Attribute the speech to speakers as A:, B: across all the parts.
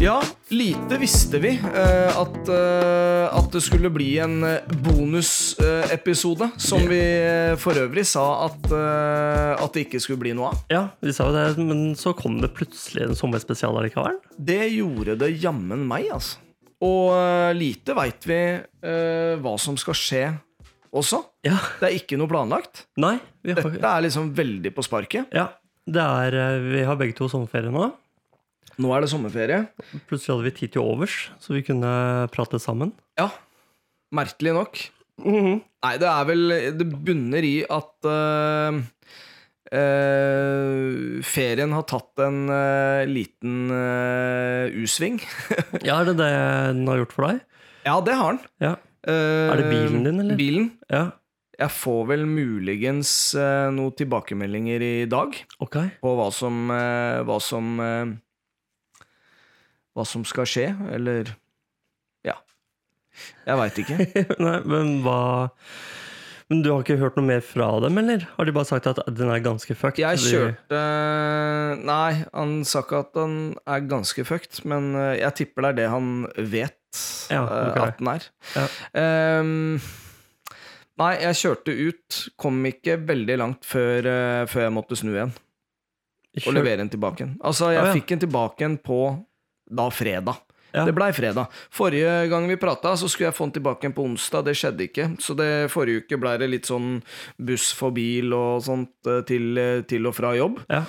A: Ja, lite visste vi eh, at, eh, at det skulle bli en eh, bonusepisode, som vi eh, for øvrig sa at, eh, at det ikke skulle bli noe av.
B: Ja, de sa jo det, men så kom det plutselig en sommerspesial allikevel.
A: Det gjorde det jammen meg, altså. Og eh, lite veit vi eh, hva som skal skje også.
B: Ja.
A: Det er ikke noe planlagt.
B: Nei, vi har
A: Dette er liksom veldig på sparket.
B: Ja. Det er, eh, vi har begge to sommerferie nå.
A: Nå er det sommerferie.
B: Plutselig hadde vi tid til overs, så vi kunne prate sammen.
A: Ja, merkelig nok. Nei, det er vel Det bunner i at eh, eh, ferien har tatt en eh, liten eh, U-sving.
B: Ja, er det det den har gjort for deg?
A: ja, det har den.
B: Ja.
A: Eh,
B: Er det bilen din, eller?
A: Bilen.
B: ja.
A: Jeg får vel muligens eh, noen tilbakemeldinger i dag
B: Ok.
A: på hva som eh, Hva som, eh, hva som skal skje, eller Ja. Jeg veit ikke.
B: Nei, men hva Men du har ikke hørt noe mer fra dem, eller? Har de bare sagt at den er ganske fucked?
A: Jeg
B: De-
A: kjørte Nei, han sa ikke at han er ganske fucked, men eh, jeg tipper det er det han vet
B: Ja,
A: eh,
B: ok.
A: at den er.
B: Ja.
A: Ehm, nei, jeg kjørte ut, kom ikke veldig langt før, eh, før jeg måtte snu igjen og
B: Kjør-
A: levere den tilbake igjen. Altså, jeg
B: Ja, ja.
A: fikk den tilbake igjen på da fredag.
B: Ja.
A: Det blei fredag. Forrige gang vi prata, så skulle jeg få den tilbake igjen på onsdag. Det skjedde ikke. Så det, forrige uke blei det litt sånn buss for bil og sånt eh, til, eh, til og fra jobb.
B: Ja.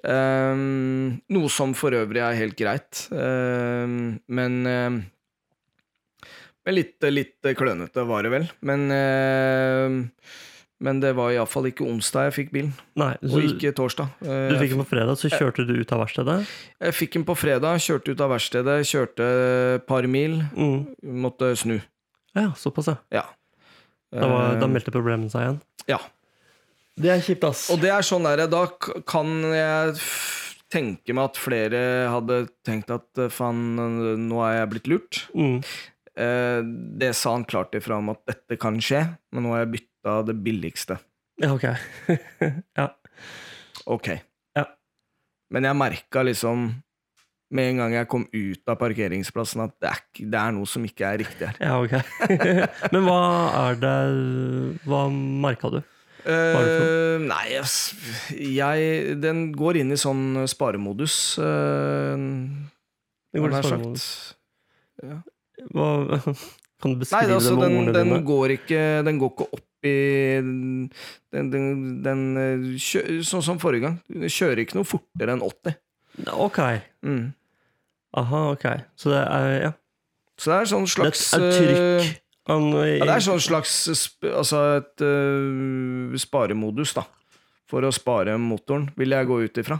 A: Ehm, noe som for øvrig er helt greit. Ehm, men ehm, men litt, litt klønete var det vel. Men, ehm, men det var iallfall ikke onsdag jeg fikk bilen,
B: Nei, så
A: og ikke torsdag. Eh,
B: du fikk den på fredag, så kjørte du ut av verkstedet?
A: jeg fikk den på fredag, kjørte ut av verkstedet, kjørte et par mil,
B: Mm.
A: måtte snu.
B: Ja, såpass, ja.
A: Ja.
B: Da, var, da
A: Eh,
B: meldte problemene seg igjen.
A: ja.
B: Det er kjipt, ass.
A: Og det er sånn der, da k- kan jeg f- tenke meg at flere hadde tenkt at eh, faen, nå er jeg blitt lurt.
B: Mm.
A: Eh, Det sa han klart ifra om at dette kan skje, men nå har jeg bytta det billigste.
B: Ja, ok. ja.
A: Ok.
B: Ja.
A: Men jeg merka liksom med en gang jeg kom ut av parkeringsplassen, at det er, ikke- det er noe som ikke er riktig her.
B: ja, ok. Men hva er det Hva merka du? er det
A: Eh, nei, jeg s- jeg Den går inn i sånn sparemodus, uh,
B: Det går
A: nær
B: litt sånn-
A: sagt.
B: Hva, kan du
A: Nei,
B: beskrive
A: det, er altså,
B: det med
A: den,
B: ordene
A: den
B: dine?
A: går ikke Den går ikke opp i den, den, den eh, kjø, Sånn som forrige gang. Den kjører ikke noe fortere enn 80.
B: Ok.
A: Mm.
B: Aha, ok. Så det er ja.
A: Så det er sånn
B: Det
A: slags
B: er
A: eh,
B: trykk. Han-
A: Ja, det er sånn slags sp altså et øh, sparemodus, da. For å spare motoren, vil jeg gå ut ifra.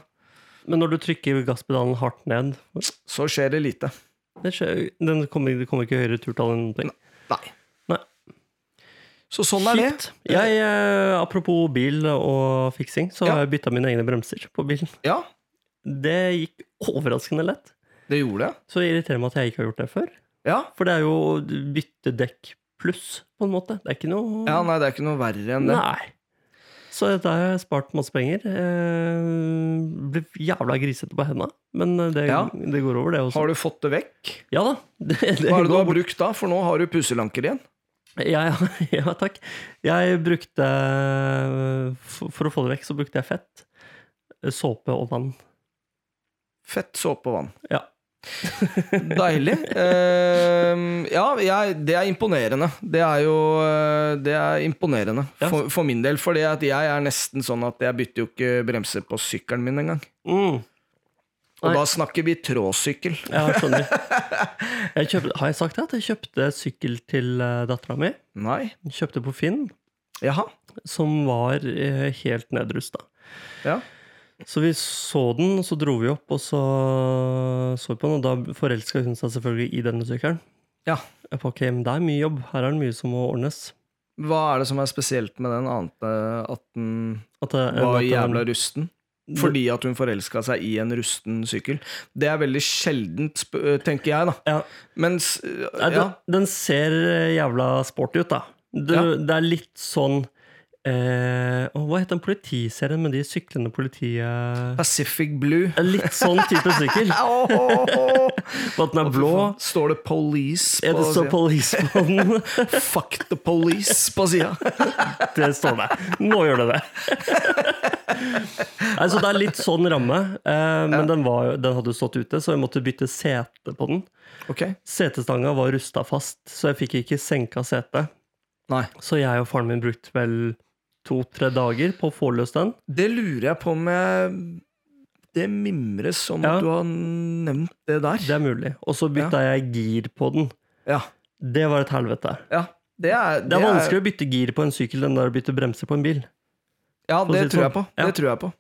B: Men når du trykker gasspedalen hardt ned
A: Så skjer det lite.
B: det, skjer, den kommer, det kommer ikke høyere turtall enn noe. ting.
A: Nei.
B: Nei.
A: Så sånn er det.
B: Kjipt. Jeg, eh, apropos bil og fiksing, så
A: Ja.
B: har jeg bytta mine egne bremser på bilen.
A: Eh, Ja,
B: Det gikk overraskende lett.
A: det gjorde jeg.
B: Så det irriterer meg at jeg ikke har gjort det før.
A: Ja.
B: For det er jo bytte dekk pluss, på en måte. Det er ikke noe
A: ja, nei, det er ikke noe verre enn det.
B: Nei. Så dette har jeg spart masse penger. Eh, Blir jævla grisete på henda, men eh, det,
A: Ja.
B: det går over, det også.
A: Har du fått det vekk?
B: Ja da. Det, det
A: Hva er det du
B: går
A: har brukt da? For nå har du pusselanker igjen.
B: Ja, ja, ja, takk. Jeg brukte For, for å få det vekk, så brukte jeg fett, såpe og vann.
A: Fett, såpe og vann.
B: Ja.
A: Deilig. Ehm, ja, jeg, det er imponerende. Det er jo eh, Det er imponerende
B: Ja.
A: for, for min del. For jeg er nesten sånn at jeg bytter jo ikke bremser på sykkelen min engang.
B: Mm.
A: Og
B: Nei.
A: da snakker vi tråsykkel.
B: Ja, jeg skjønner. Jeg kjøpte, har jeg sagt det? At jeg kjøpte sykkel til eh, dattera mi.
A: Nei.
B: Kjøpte på Finn,
A: Jaha.
B: som var eh, helt nedrusta.
A: Ja.
B: Så vi så den, og så dro vi opp, og så så vi på den, og da forelska hun seg selvfølgelig i denne sykkelen.
A: Ja.
B: Jeg på, ok, men det er mye jobb. Her er det mye som må ordnes.
A: Hva er det som er spesielt med den, annet eh, at den
B: At det,
A: var
B: at det-
A: jævla rusten? Fordi at hun forelska seg i en rusten sykkel. Det er veldig sjeldent, sp- eh, tenker jeg, da.
B: Ja.
A: Mens eh,
B: Nei, den,
A: ja.
B: den ser eh, jævla sporty ut, da. Du,
A: Ja.
B: Det er litt sånn eh, å, Hva het den politiserien med de syklende politiet
A: Pacific Blue.
B: Litt sånn type sykkel.
A: Au, au, au.
B: Og at den er blå.
A: Står det 'police'
B: Er det
A: på
B: så
A: siden?
B: police på den?
A: Fuck the police på sida.
B: Det står det. Nå gjør det det. Nei, så det er litt sånn ramme. eh, Men den, var, jo- den hadde jo stått ute, så jeg måtte bytte sete på den.
A: Ok.
B: Setestanga var rusta fast, så jeg fikk ikke senka setet.
A: Nei.
B: Så jeg og faren min brukte vel to-tre dager på å få løst den.
A: Det lurer jeg på om jeg Det mimres om
B: Ja.
A: at du har nevnt det der.
B: Det er mulig. Og så bytta jeg gir på den.
A: Ja.
B: Det var et helvete.
A: ja. Det er,
B: Det er vanskelig å bytte gir på en sykkel enn det er å bytte bremser på en bil.
A: Ja,
B: å si
A: det
B: det
A: tror jeg
B: sånn.
A: på.
B: Ja.
A: Det tror jeg på.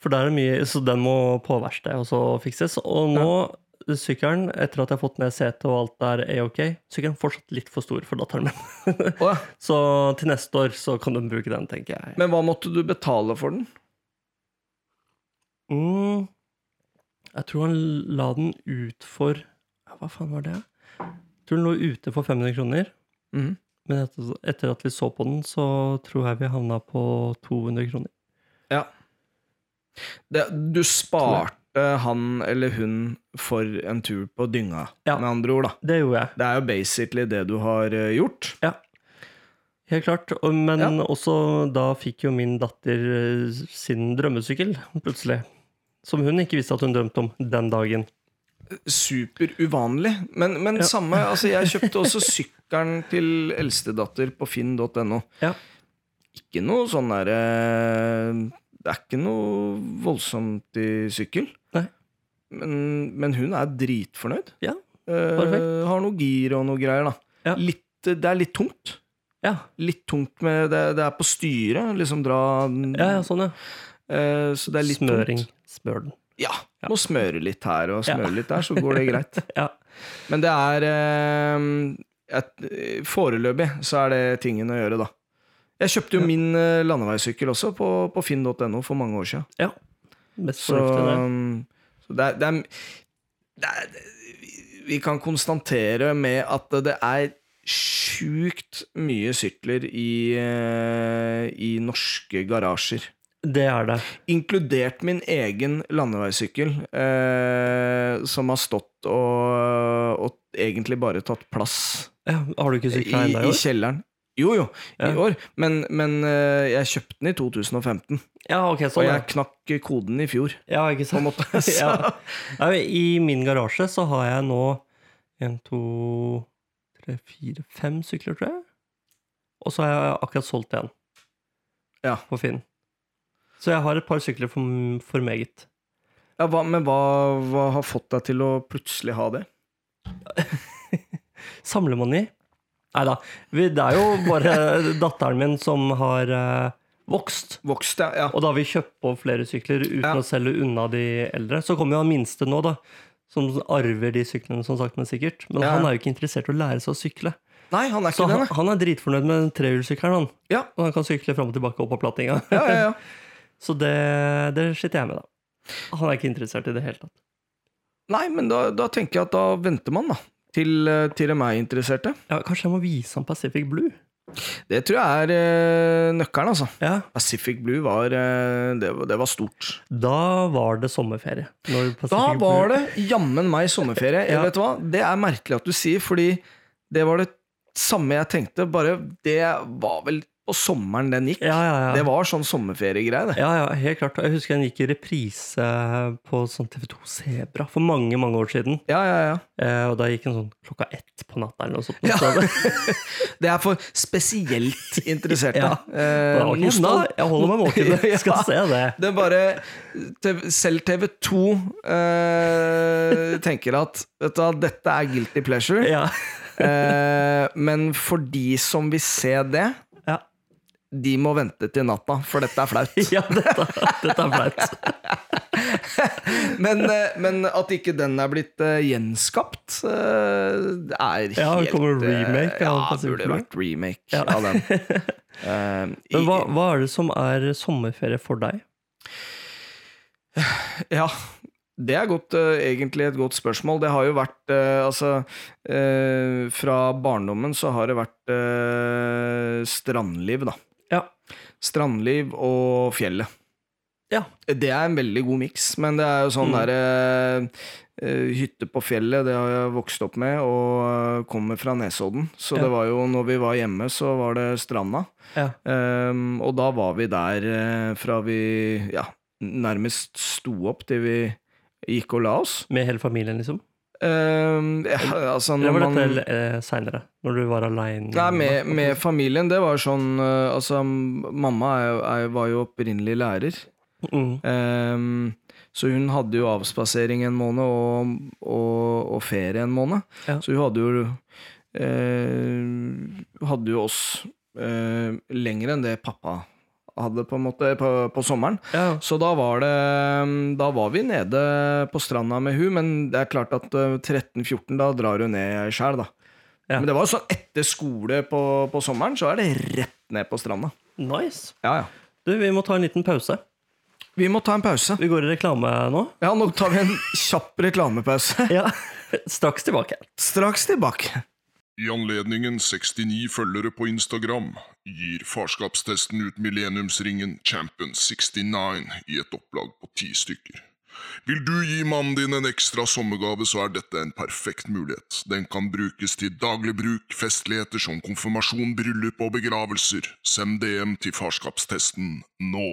B: For der er det mye, så den må på verksted og så fikses. Og nå, sykkelen, etter at jeg har fått ned setet og alt der er ok, sykkelen er fortsatt litt for stor for datteren min.
A: Å, ja.
B: Så til neste år så kan hun bruke den, tenker jeg.
A: Men hva måtte du betale for den?
B: Mm, jeg tror han la den ut for ja, Hva faen var det? Jeg tror den lå ute for 500 kroner.
A: Mhm.
B: Men etter, etter at vi så på den, så tror jeg vi havna på 200 kroner.
A: Det, du sparte han eller hun for en tur på dynga,
B: Ja.
A: med andre ord. da
B: Det gjorde jeg.
A: Det er jo basically det du har eh, gjort.
B: Helt klart, og- men
A: Ja.
B: også da fikk jo min datter eh, sin drømmesykkel, plutselig. Som hun ikke visste at hun drømte om den dagen.
A: Superuvanlig. Men, men samme altså Jeg kjøpte også sykkelen til eldstedatter på finn.no.
B: Ja.
A: Ikke noe sånn derre Det er ikke noe voldsomt i sykkel.
B: Nei.
A: Men, men hun er dritfornøyd.
B: Ja,
A: eh,
B: perfekt.
A: har noe gir og noe greier, da.
B: Ja.
A: Litt, det er litt tungt.
B: Ja,
A: Litt tungt med Det, det er på styret, liksom dra
B: ja, ja sånn, ja.
A: eh, Så det er litt
B: Smøring.
A: tungt.
B: Smør den.
A: Ja.
B: Ja.
A: Må smøre litt her og
B: Ja.
A: smøre litt der, så går det greit.
B: Ja.
A: Men det er eh, et, Foreløpig så er det tingen å gjøre, da. Jeg kjøpte jo min eh, landeveissykkel også på, på finn.no for mange år siden.
B: ja. Mest
A: Så,
B: fornuftig, det.
A: så det er, det er, det er Vi kan konstatere med at det er sjukt mye sykler i, eh, i norske garasjer.
B: Det er det.
A: Inkludert min egen landeveissykkel, eh, som har stått og, og egentlig bare tatt plass
B: Ja, har du ikke
A: i,
B: sykla ennå i
A: i
B: år?
A: kjelleren. Jo, jo, i
B: Ja.
A: år. Men, men eh, jeg kjøpte den i 2015,
B: Ja, ok,
A: og
B: sånn.
A: jeg
B: ja.
A: knakk koden i fjor.
B: Ja, ikke sant.
A: Så,
B: ja. Nei, I min garasje så har jeg nå en, to, tre, fire, fem sykler, tror jeg. Og så har jeg akkurat solgt en
A: Ja.
B: på Finn. Så jeg har et par sykler for, for meget.
A: ja, hva, men hva, hva har fått deg til å plutselig ha det?
B: Samlemani? Nei da. Det er jo bare datteren min som har eh, vokst.
A: Vokst, ja. ja.
B: Og da har vi kjøpt på flere sykler uten
A: Ja.
B: å selge unna de eldre. Så kommer jo han minste nå, da. Som arver de syklene, som sagt, men sikkert. Men
A: Ja.
B: han er jo ikke interessert i å lære seg å sykle.
A: Nei, han er
B: Så
A: ikke det,
B: han,
A: nei.
B: han er dritfornøyd med den trehjulssykkelen, han.
A: Ja.
B: Og han kan sykle fram og tilbake opp av plattinga.
A: Ja, ja, ja.
B: Så det, det sitter jeg med, da. Han er ikke interessert i det hele tatt.
A: Nei, men da, da tenker jeg at da venter man, da. Til, eh, til de er interesserte.
B: Ja, Kanskje jeg må vise han Pacific Blue?
A: Det tror jeg er eh, nøkkelen, altså.
B: Ja.
A: Pacific Blue var eh, Det, var- det var stort.
B: Da var det sommerferie. Når Pacific
A: Da var
B: Blue,
A: det jammen meg sommerferie. Jeg
B: Ja.
A: Vet du hva? Det er merkelig at du sier, fordi det var det samme jeg tenkte, bare det var vel på sommeren den gikk.
B: Ja, ja,
A: Det
B: ja.
A: var sånn sommerferiegreie, det.
B: ja, ja, helt klart. Jeg husker den gikk i reprise på sånn TV2 Sebra for mange, mange år siden.
A: Ja, ja, ja.
B: Eh, og da gikk den sånn klokka ett på natta eller noe sånt.
A: Ja.
B: Så det,
A: Det er for spesielt interesserte.
B: Ja.
A: Eh,
B: det var ikke sånn,
A: nostal-
B: da. Jeg holder meg våken, jeg skal
A: Ja.
B: se det.
A: Det er bare TV, Selv TV2 eh, tenker at vet du, hva, dette er guilty pleasure.
B: Ja.
A: Eh, men for de som vil se det,
B: Ja.
A: de må vente til natta, for dette er flaut.
B: ja, dette, dette er flaut.
A: Men, eh, men at ikke den er blitt eh, gjenskapt, eh, er helt
B: Ja, det kommer
A: eh,
B: remake av
A: Ja, det
B: Pacific
A: burde
B: Blue.
A: vært remake
B: Ja.
A: av den. Eh,
B: Men hva, hva er det som er sommerferie for deg?
A: Ja, det er godt, eh, egentlig et godt spørsmål. Det har jo vært eh, Altså, eh, fra barndommen så har det vært eh, strandliv, da.
B: Ja.
A: Strandliv og fjellet.
B: Ja.
A: Det er en veldig god miks, men det er jo sånn
B: Mm.
A: der derre Hytte på fjellet, det har jeg vokst opp med, og eh, kommer fra Nesodden. Så
B: Ja.
A: det var jo, når vi var hjemme, så var det stranda.
B: Ja.
A: Ehm, og da var vi der eh, fra vi ja, nærmest sto opp til vi gikk og la oss.
B: Med hele familien, liksom?
A: Ehm, ja, altså når
B: Eller var
A: man
B: dette eh, seinere? Når du var aleine?
A: Nei, med, med familien, det var sånn eh, Altså, mamma er, jo- er, var jo opprinnelig lærer.
B: mm.
A: Ehm, så hun hadde jo avspasering en måned og, og, og ferie en måned.
B: Ja.
A: Så hun hadde jo eh, Hadde jo oss eh, lenger enn det pappa hadde, på en måte, på, på sommeren.
B: Ja.
A: Så da var det Da var vi nede på stranda med hun, men det er klart at eh, 13-14, da drar hun ned sjæl, da.
B: Ja.
A: Men det var jo sånn etter skole på, på sommeren, så er det rett ned på stranda.
B: Nice.
A: Ja, ja.
B: Du, vi må ta en liten pause.
A: Vi må ta en pause.
B: Vi går i reklame nå.
A: Ja, nå tar vi en kjapp reklamepause.
B: Ja. Straks tilbake.
A: Straks tilbake.
C: I anledningen 69 følgere på Instagram gir farskapstesten ut millenniumsringen Champion 69 i et opplag på ti stykker. Vil du gi mannen din en ekstra sommergave, så er dette en perfekt mulighet. Den kan brukes til daglig bruk, festligheter som konfirmasjon, bryllup og begravelser. Send DM til farskapstesten nå.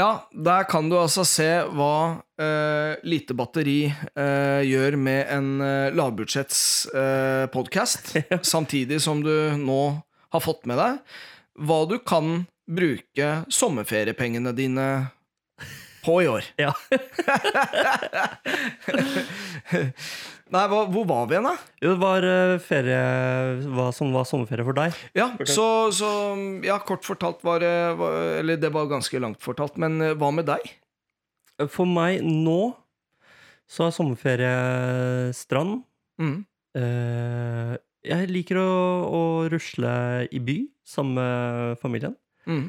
A: Ja, der kan du altså se hva eh, lite batteri eh, gjør med en uh, lavbudsjetts eh, podcast, samtidig som du nå har fått med deg hva du kan bruke sommerferiepengene dine på i år.
B: Ja.
A: Nei, hva, hvor var vi igjen, da?
B: Jo, Det var eh, ferie Hva som var sommerferie for deg?
A: Ja, så, så Ja, kort fortalt var det var- Eller det var ganske langt fortalt, men eh, hva med deg?
B: For meg nå så er sommerferie strand.
A: Mm.
B: Eh, jeg liker å, å rusle i by sammen med familien.
A: Mm.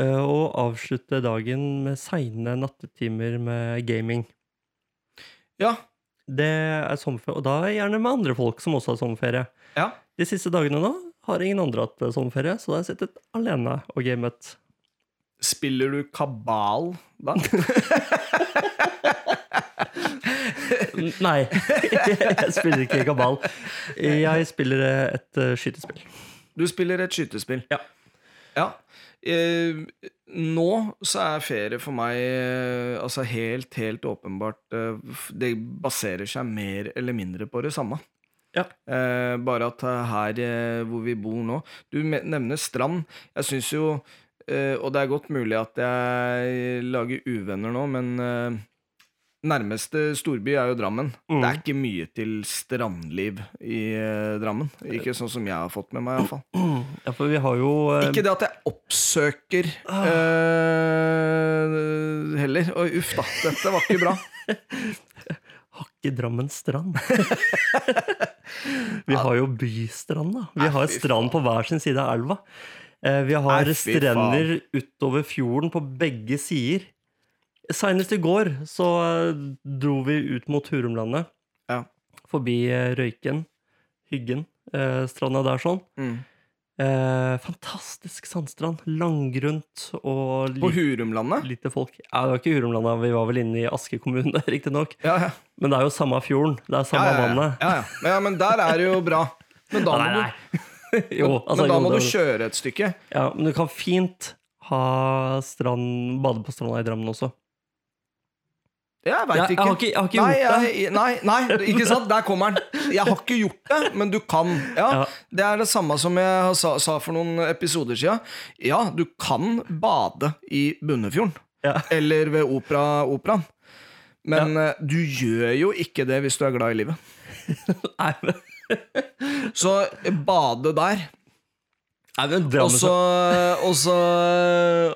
B: eh, og avslutte dagen med seine nattetimer med gaming.
A: Ja.
B: Det er sommerferie, og da er jeg gjerne med andre folk som også har sommerferie.
A: Ja.
B: De siste dagene nå har ingen andre hatt eh, sommerferie, så da har jeg sittet alene og gamet.
A: Spiller du kabal da?
B: N- Nei, jeg spiller ikke kabal. Jeg spiller eh, et eh, skytespill.
A: Du spiller et skytespill.
B: Ja.
A: Ja. Eh, nå så er ferie for meg eh, altså helt, helt åpenbart eh, f- Det baserer seg mer eller mindre på det samme.
B: Ja.
A: Eh, bare at eh, her eh, hvor vi bor nå Du me- nevner strand. Jeg syns jo eh, Og det er godt mulig at jeg lager uvenner nå, men eh, nærmeste storby er jo Drammen.
B: Mm.
A: Det er ikke mye til strandliv i eh, Drammen. Ikke sånn som jeg har fått med meg, iallfall.
B: Ja, for vi har jo eh,
A: Ikke det at jeg oppsøker
B: Ah.
A: eh, heller. Oi, uff da, dette var ikke bra.
B: Hakke Drammen strand. vi har jo bystrand, da. Vi
A: Nei,
B: har
A: fy
B: strand på hver sin side av elva. Eh, Vi har
A: Nei, fy faen.
B: strender utover fjorden på begge sider. Seinest i går så eh, dro vi ut mot Hurumlandet.
A: Ja.
B: Forbi eh, Røyken, Hyggen, eh, stranda der sånn.
A: Mm.
B: Eh, Fantastisk sandstrand. Langgrunt og
A: På
B: lite,
A: Hurumlandet?
B: lite folk. Ja, det var ikke Hurumlandet, vi var vel inne i Aske kommune, riktignok.
A: Ja, ja.
B: Men det er jo samme fjorden. Det er
A: Ja,
B: samme
A: ja, ja.
B: vannet.
A: ja, ja. Men, ja, men der er det jo bra. Men da må
B: nei,
A: du,
B: nei. jo, altså,
A: men da
B: jo,
A: må
B: det-
A: du kjøre et stykke.
B: Ja, men du kan fint ha strand, bade på stranda i Drammen også.
A: Jeg
B: Ja,
A: veit
B: jeg
A: ikke.
B: har ikke, jeg har ikke
A: Nei,
B: gjort det.
A: jeg, nei, nei, ikke sant? Der kommer den. Jeg har ikke gjort det, men du kan. Ja,
B: Ja.
A: Det er det samme som jeg har sa, sa for noen episoder sia. Ja, du kan bade i Bunnefjorden.
B: Ja.
A: Eller ved opera, operaen. Men eh, du gjør jo ikke det hvis du er glad i livet.
B: Nei, men,
A: Så eh, bade der,
B: nei,
A: og
B: men Drammen
A: så, og, så,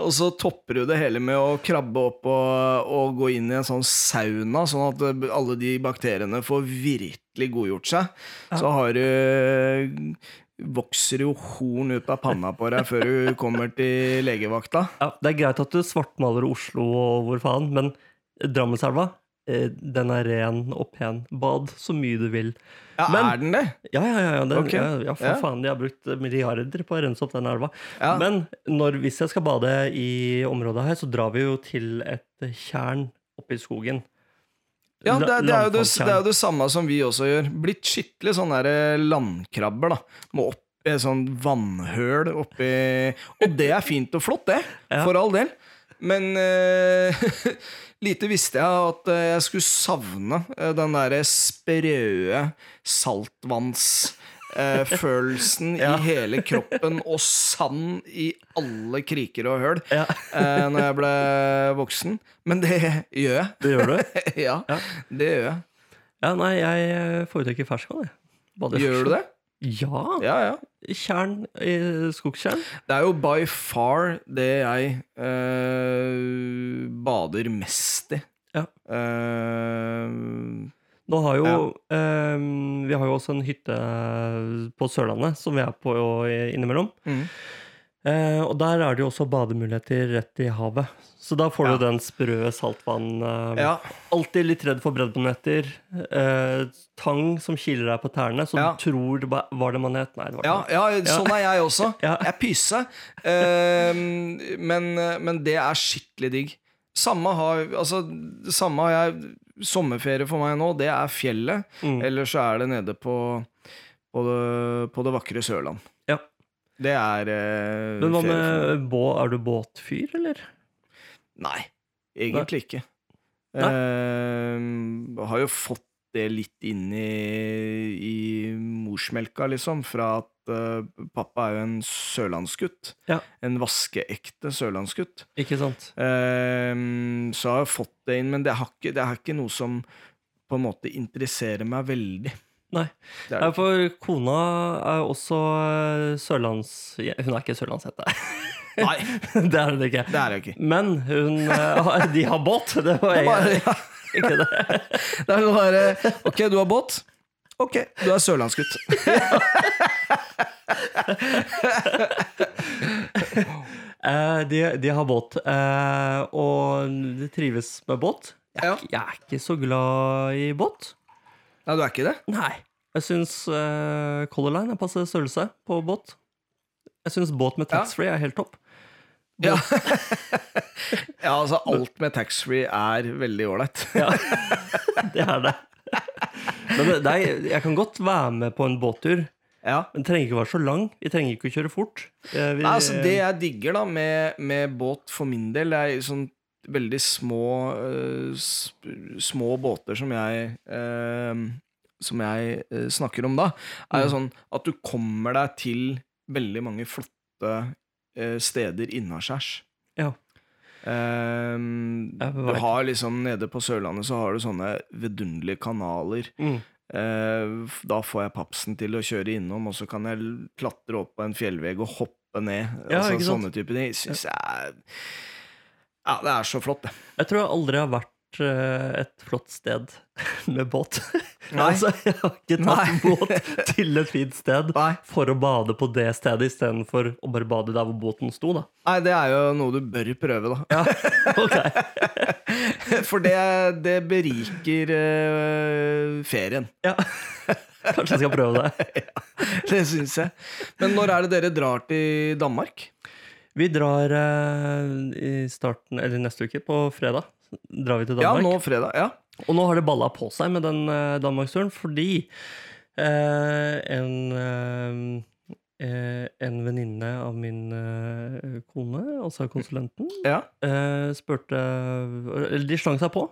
A: og så topper du det hele med å krabbe opp og, og gå inn i en sånn sauna, sånn at eh, alle de bakteriene får virkelig godgjort seg. Så har du Vokser jo horn ut av panna på deg før du kommer til legevakta.
B: ja, Det er greit at du svartmaler Oslo og hvor faen, men Drammenselva eh, den er ren og pen. Bad så mye du vil.
A: Ja,
B: Men-
A: er den det?
B: Ja, ja, ja, ja, den,
A: Ok.
B: ja, ja for
A: Ja.
B: faen, de har brukt milliarder på å rense opp den elva.
A: Ja.
B: Men når, hvis jeg skal bade i området her, så drar vi jo til et tjern oppe i skogen.
A: Ja, det,
B: La-
A: er- det, er jo det, det er
B: landfallstjern.
A: jo det samme som vi også gjør. Blitt skikkelig sånn der eh, landkrabber, da. Må opp i et sånn vannhøl oppi Og det er fint og flott, det.
B: Ja.
A: For all del. Men eh, lite visste jeg at eh, jeg skulle savne eh, den derre sprøe saltvannsfølelsen eh,
B: Ja.
A: i hele kroppen, og sand i alle kriker og høl,
B: Ja.
A: eh, når jeg ble voksen. Men det gjør jeg.
B: Det gjør du?
A: ja,
B: Ja.
A: det gjør jeg.
B: Ja, nei, jeg eh, foretrekker ferskvann, jeg. Bader i
A: Gjør du det?
B: ferskvann. Ja.
A: Ja, ja.
B: Tjern, eh, skogstjern.
A: Det er jo by far det jeg eh, bader mest i.
B: Ja.
A: Eh,
B: Nå har jo ehm, Vi har jo også en hytte eh, på Sørlandet som vi er på innimellom.
A: mm.
B: Eh, og der er det jo også bademuligheter rett i havet. Så da får
A: Ja.
B: du den sprø saltvann eh,
A: ja.
B: Alltid litt redd for breddenetter. Eh, tang som kiler deg på tærne, som
A: Ja.
B: du tror det ba- var det manet. Nei, det var det
A: Ja,
B: manet.
A: ja, sånn er jeg også.
B: Ja.
A: Jeg er pyse. Eh, men, men det er skikkelig digg. Samme har, altså, det samme har jeg Sommerferie for meg nå, det er fjellet.
B: Mm.
A: Eller så er det nede på, på, det, på det vakre Sørland.
B: Ja.
A: Det er eh,
B: Men hva
A: ferie for meg.
B: med bå, er du båtfyr, eller?
A: Nei, egentlig ikke.
B: Nei.
A: Eh, har jo fått det litt inn i, i morsmelka, liksom, fra at eh, pappa er jo en sørlandsgutt.
B: Ja.
A: En vaskeekte sørlandsgutt.
B: Ikke sant?
A: Eh, så har jeg fått det inn, men det, har ikke, det er ikke noe som på en måte interesserer meg veldig.
B: Nei.
A: Det
B: Nei,
A: er,
B: for kona er også eh, sørlands... ja, Hun er ikke sørlandshette.
A: nei,
B: det er hun ikke.
A: det er jeg ikke.
B: Men hun eh, har- De har båt! Det var
A: Det er bare,
B: jeg, ikke det.
A: det er bare Ok, du har båt. Ok, du er sørlandsgutt.
B: Eh, de, de har båt, eh, og de trives med båt. Jeg, er
A: Ja.
B: ikke- jeg er ikke så glad i båt.
A: Nei, du er ikke det?
B: Nei. Jeg syns eh, Color Line er passe størrelse på båt. Jeg syns båt med taxfree er helt topp.
A: Ja. ja, altså alt med taxfree er veldig ålreit.
B: Ja. det er det. Men det, det er, jeg kan godt være med på en båttur.
A: Ja.
B: Den trenger ikke å være så lang. Vi trenger ikke å kjøre fort. Eh, vi-
A: Nei, altså, det jeg digger da med, med båt for min del, er sånn veldig små eh, sp- Små båter som jeg eh, Som jeg eh, snakker om da, er
B: Mm.
A: jo sånn at du kommer deg til veldig mange flotte eh, steder innaskjærs.
B: Ja.
A: Ehm,
B: Jeg
A: du
B: vet.
A: har liksom Nede på Sørlandet så har du sånne vidunderlige kanaler.
B: Mm.
A: Eh, f- Da får jeg papsen til å kjøre innom, og så kan jeg l- klatre opp på en fjellvegg og hoppe ned.
B: Ja,
A: altså,
B: ikke sant?
A: sånne type ting. Synes jeg er Ja, det er så flott, det.
B: Jeg tror jeg aldri har vært eh, et flott sted med båt.
A: Nei.
B: altså, jeg har ikke tatt
A: Nei.
B: båt til et fint sted
A: Nei.
B: for å bade på det stedet, istedenfor å bare bade der hvor båten sto, da.
A: Nei, det er jo noe du bør prøve, da.
B: Ja, ok.
A: For det, det beriker eh, ferien.
B: Ja. Kanskje jeg skal prøve det.
A: Det syns jeg. Men når er det dere drar til Danmark?
B: Vi drar eh, i starten, eller neste uke, på fredag. Drar vi til
A: Ja,
B: Danmark.
A: nå fredag. Ja.
B: Og nå har det balla på seg med den eh, Danmarksturen, fordi eh, en eh, eh, en venninne av min eh, kone, altså konsulenten,
A: ja.
B: eh, spurte Eller de slang seg på.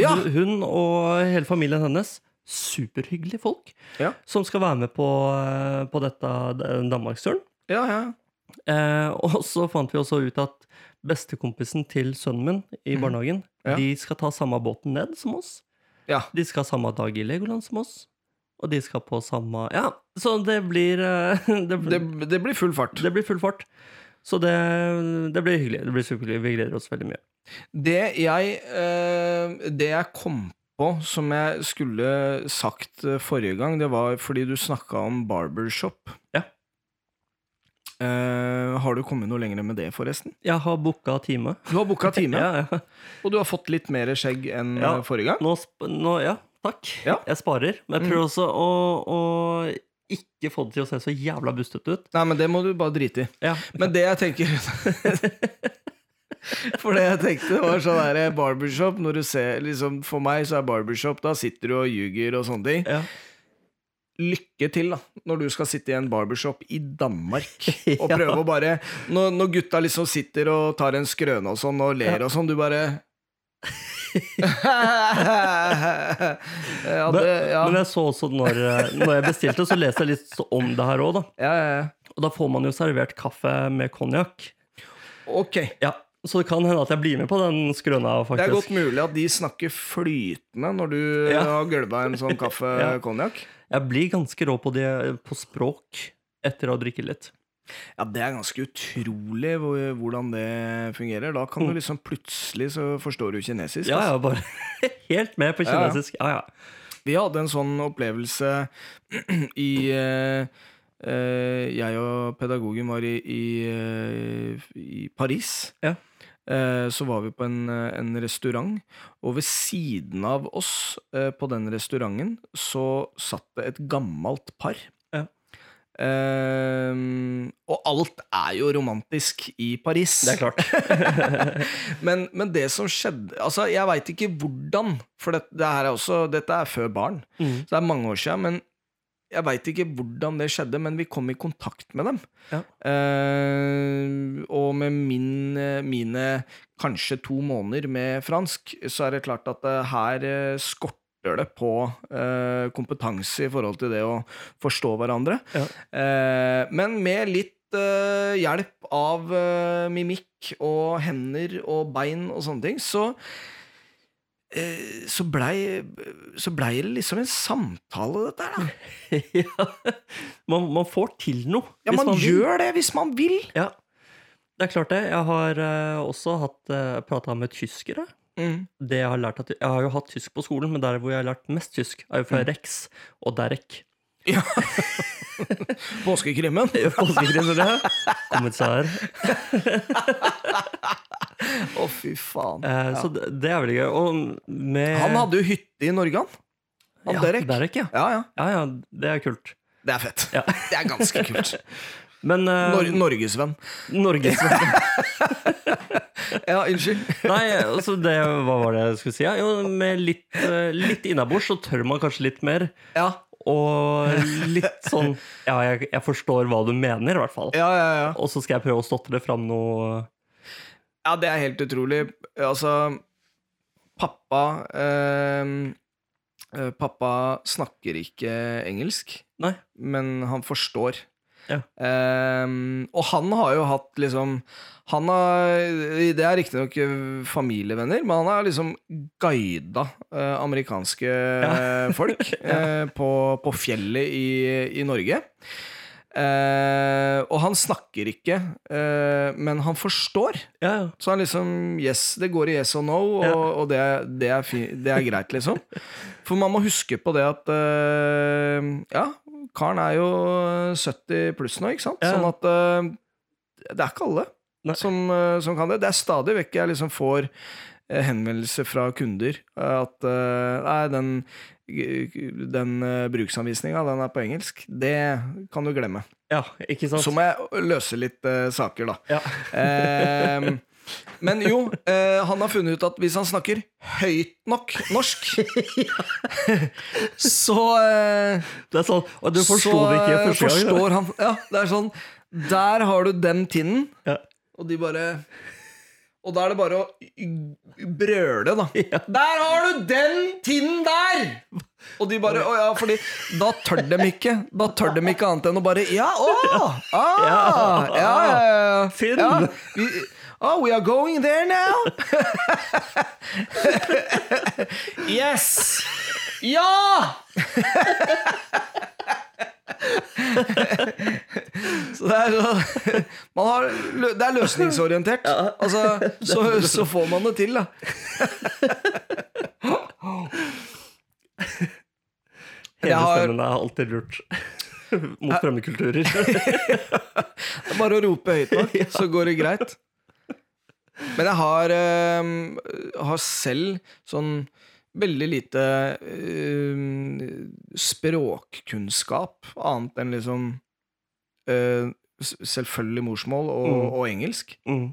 A: Ja.
B: Du- Hun og hele familien hennes, superhyggelige folk,
A: Ja.
B: som skal være med på, eh, på dette den Danmarksturen.
A: Ja, ja.
B: Eh, og så fant vi også ut at bestekompisen til sønnen min i
A: Mhm.
B: barnehagen,
A: Ja.
B: de skal ta samme båten ned som oss.
A: Ja.
B: De skal samme dag i Legoland som oss. Og de skal på samme Ja, så det blir eh, Det,
A: Det,
B: blir-
A: det blir full fart.
B: det blir full fart. Så det, det blir hyggelig. Det blir superhyggelig. Vi gleder oss veldig mye.
A: Det jeg, eh, det jeg kom på som jeg skulle sagt eh, forrige gang, det var fordi du snakka om barbershop.
B: Ja.
A: Eh, Har du kommet noe lenger med det, forresten?
B: Jeg har booka time.
A: Du har booka time,
B: Ja, ja.
A: og du har fått litt mer skjegg enn
B: Ja.
A: eh, forrige gang.
B: Nå, sp nå ja, takk.
A: Ja. Mm.
B: Jeg sparer. Men jeg prøver også å, å ikke få det til å se så jævla bustete ut.
A: Nei, men det må du bare drite i.
B: Ja.
A: Men det jeg tenker For det jeg tenkte, var sånn der barbershop når du ser, liksom, For meg så er barbershop Da sitter du og ljuger og sånne ting.
B: Ja.
A: Lykke til da når du skal sitte i en barbershop i Danmark og
B: Ja.
A: prøve å bare når, når gutta liksom sitter og tar en skrøne og sånn og ler og sånn, du bare ja,
B: Men,
A: det, ja.
B: men jeg så også når, eh, når jeg bestilte, så leste jeg litt om det her òg, da.
A: ja, ja, ja.
B: Og da får man jo servert kaffe med konjakk.
A: Ok.
B: Ja. Så det kan hende at jeg blir med på den skrøna,
A: Det er
B: faktisk.
A: godt mulig at de snakker flytende når du
B: Ja.
A: har gølva en sånn
B: Ja.
A: kaffe-konjakk.
B: Jeg blir ganske rå på, det, på språk etter å ha drikket litt.
A: Ja, det er ganske utrolig hvor- hvordan det fungerer. Da kan du liksom plutselig så forstår du kinesisk.
B: Mm. Ja,
A: altså.
B: ja, bare helt med på
A: Ja, ja.
B: kinesisk. Ja, ja.
A: Vi hadde en sånn opplevelse i eh, eh, Jeg og pedagogen var i, i, eh, i Paris.
B: Ja.
A: Eh, Så var vi på en, eh, en restaurant, og ved siden av oss eh, på den restauranten så satt det et gammelt par.
B: Ja.
A: Eh, og alt er jo romantisk i Paris.
B: Det er klart.
A: Men, men det som skjedde Altså, jeg veit ikke hvordan, for det, det her er også, dette er før barn,
B: Mm.
A: så det er mange år siden, men jeg veit ikke hvordan det skjedde, men vi kom i kontakt med dem.
B: Ja.
A: Eh, og med min, mine kanskje to måneder med fransk, så er det klart at eh, her eh, skorter det på eh, kompetanse i forhold til det å forstå hverandre.
B: Ja.
A: Eh, men med litt eh, hjelp av eh, mimikk og hender og bein og sånne ting, så eh, så blei så blei det liksom en samtale, dette her. da.
B: ja. Man, man får til noe.
A: Ja,
B: hvis
A: man,
B: vil.
A: gjør det hvis man vil!
B: Ja. Det er klart, det. Jeg har eh, også hatt uh, prata med tyskere. Det jeg, har lært at, jeg har jo hatt tysk på skolen, men der hvor jeg har lært mest tysk, er jo fra
A: Mm.
B: Rex og Derek.
A: Påskekrimmen. Å,
B: Påskegrinsere. Kommissær.
A: fy faen.
B: Eh, Så det, det er veldig gøy. Og med
A: Han hadde jo hytte i Norge, han. Han
B: ja,
A: Derek.
B: Derek ja.
A: Ja, ja.
B: ja, ja. Det er kult.
A: Det er fett.
B: Ja.
A: Det er ganske kult.
B: Men eh,
A: Nor Norgesvenn.
B: Norges
A: Ja, unnskyld.
B: Nei, altså det, hva var det jeg skulle si? Ja, jo, med litt, eh, litt innabords så tør man kanskje litt mer.
A: Ja,
B: Og litt sånn Ja, jeg, jeg forstår hva du mener, i hvert fall.
A: ja, ja. ja.
B: Og så skal jeg prøve å stotre fram noe
A: Ja, det er helt utrolig. Altså, pappa ehm, eh, Pappa snakker ikke engelsk,
B: Nei.
A: men han forstår.
B: Ja.
A: Ehm, og han har jo hatt liksom Han har Det er riktignok familievenner, men han har liksom guida eh, amerikanske eh, folk eh, på, på fjellet i, i Norge. Eh, og han snakker ikke, eh, men han forstår.
B: Ja, ja.
A: Så han liksom Yes, det går i yes og no, og,
B: Ja.
A: og det, det, er fi, det er greit, liksom. For man må huske på det at eh, Ja, karen er jo 70 pluss nå, ikke sant?
B: Ja.
A: Sånn at eh, det er ikke alle
B: Nei.
A: som, eh, som kan det. Det er stadig vekk jeg liksom får eh, henvendelser fra kunder eh, at eh, Nei, den, den eh, bruksanvisninga, den er på engelsk. Det kan du glemme.
B: ja ikke sant?
A: Så må jeg løse litt eh, saker, da.
B: ja.
A: Ehm, men jo, eh, han har funnet ut at hvis han snakker høyt nok norsk, så, eh,
B: Det er sånn Og du forsto
A: så,
B: det ikke
A: eh,
B: første gang? da.
A: forstår han Ja, det er sånn Der har du den tinnen,
B: Ja.
A: og de bare Og da er det bare å brøle, da.
B: Ja.
A: Der har du den tinnen der! Og de bare Å ja, fordi da tør dem ikke. Da tør dem ikke annet enn å bare Ja, å! Ah, ja, ja, ja.
B: Finn.
A: Ja, vi, oh, we are going there now! yes! Ja! Så det er så man har, lø- Det er løsningsorientert. Altså, så, så får man det til, da.
B: Hele
A: Jeg har-
B: stemmen er alltid lurt. mot fremmedkulturer.
A: Det er bare å rope høyt nok, så går det greit. Men jeg har, ehm, har selv sånn veldig lite ehm, språkkunnskap, annet enn liksom eh, s- selvfølgelig morsmål og,
B: Mm.
A: og engelsk.
B: Mm.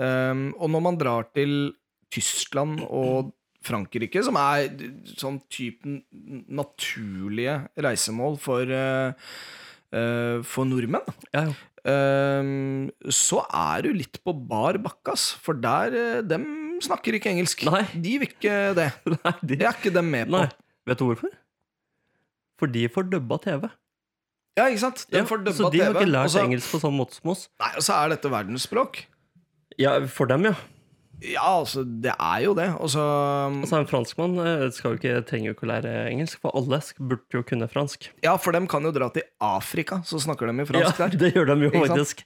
A: Ehm, og når man drar til Tyskland og Frankrike, som er d- sånn typen naturlige reisemål for, eh, eh, for nordmenn
B: Ja, ja.
A: Ehm, så er du litt på bar bakke, ass. For der, eh, dem snakker ikke engelsk.
B: Nei.
A: De vil ikke det.
B: Nei, de,
A: Det er ikke dem med på.
B: nei. Vet du hvorfor? For de får dubba TV.
A: Ja, ikke sant? De
B: Ja,
A: får dubba
B: så de har
A: TV,
B: ikke
A: og
B: lært
A: så-
B: engelsk på sånn måte som oss.
A: Nei, og så er dette verdensspråk.
B: Ja, for dem, ja.
A: Ja, altså, det er jo det. Og så
B: Altså, en franskmann eh, skal jo ikke, trenger jo ikke å lære engelsk, for alle sk- burde jo kunne fransk.
A: Ja, for dem kan jo dra til Afrika, så snakker de i fransk
B: ja,
A: der.
B: det gjør de jo
A: Ikke sant?
B: faktisk.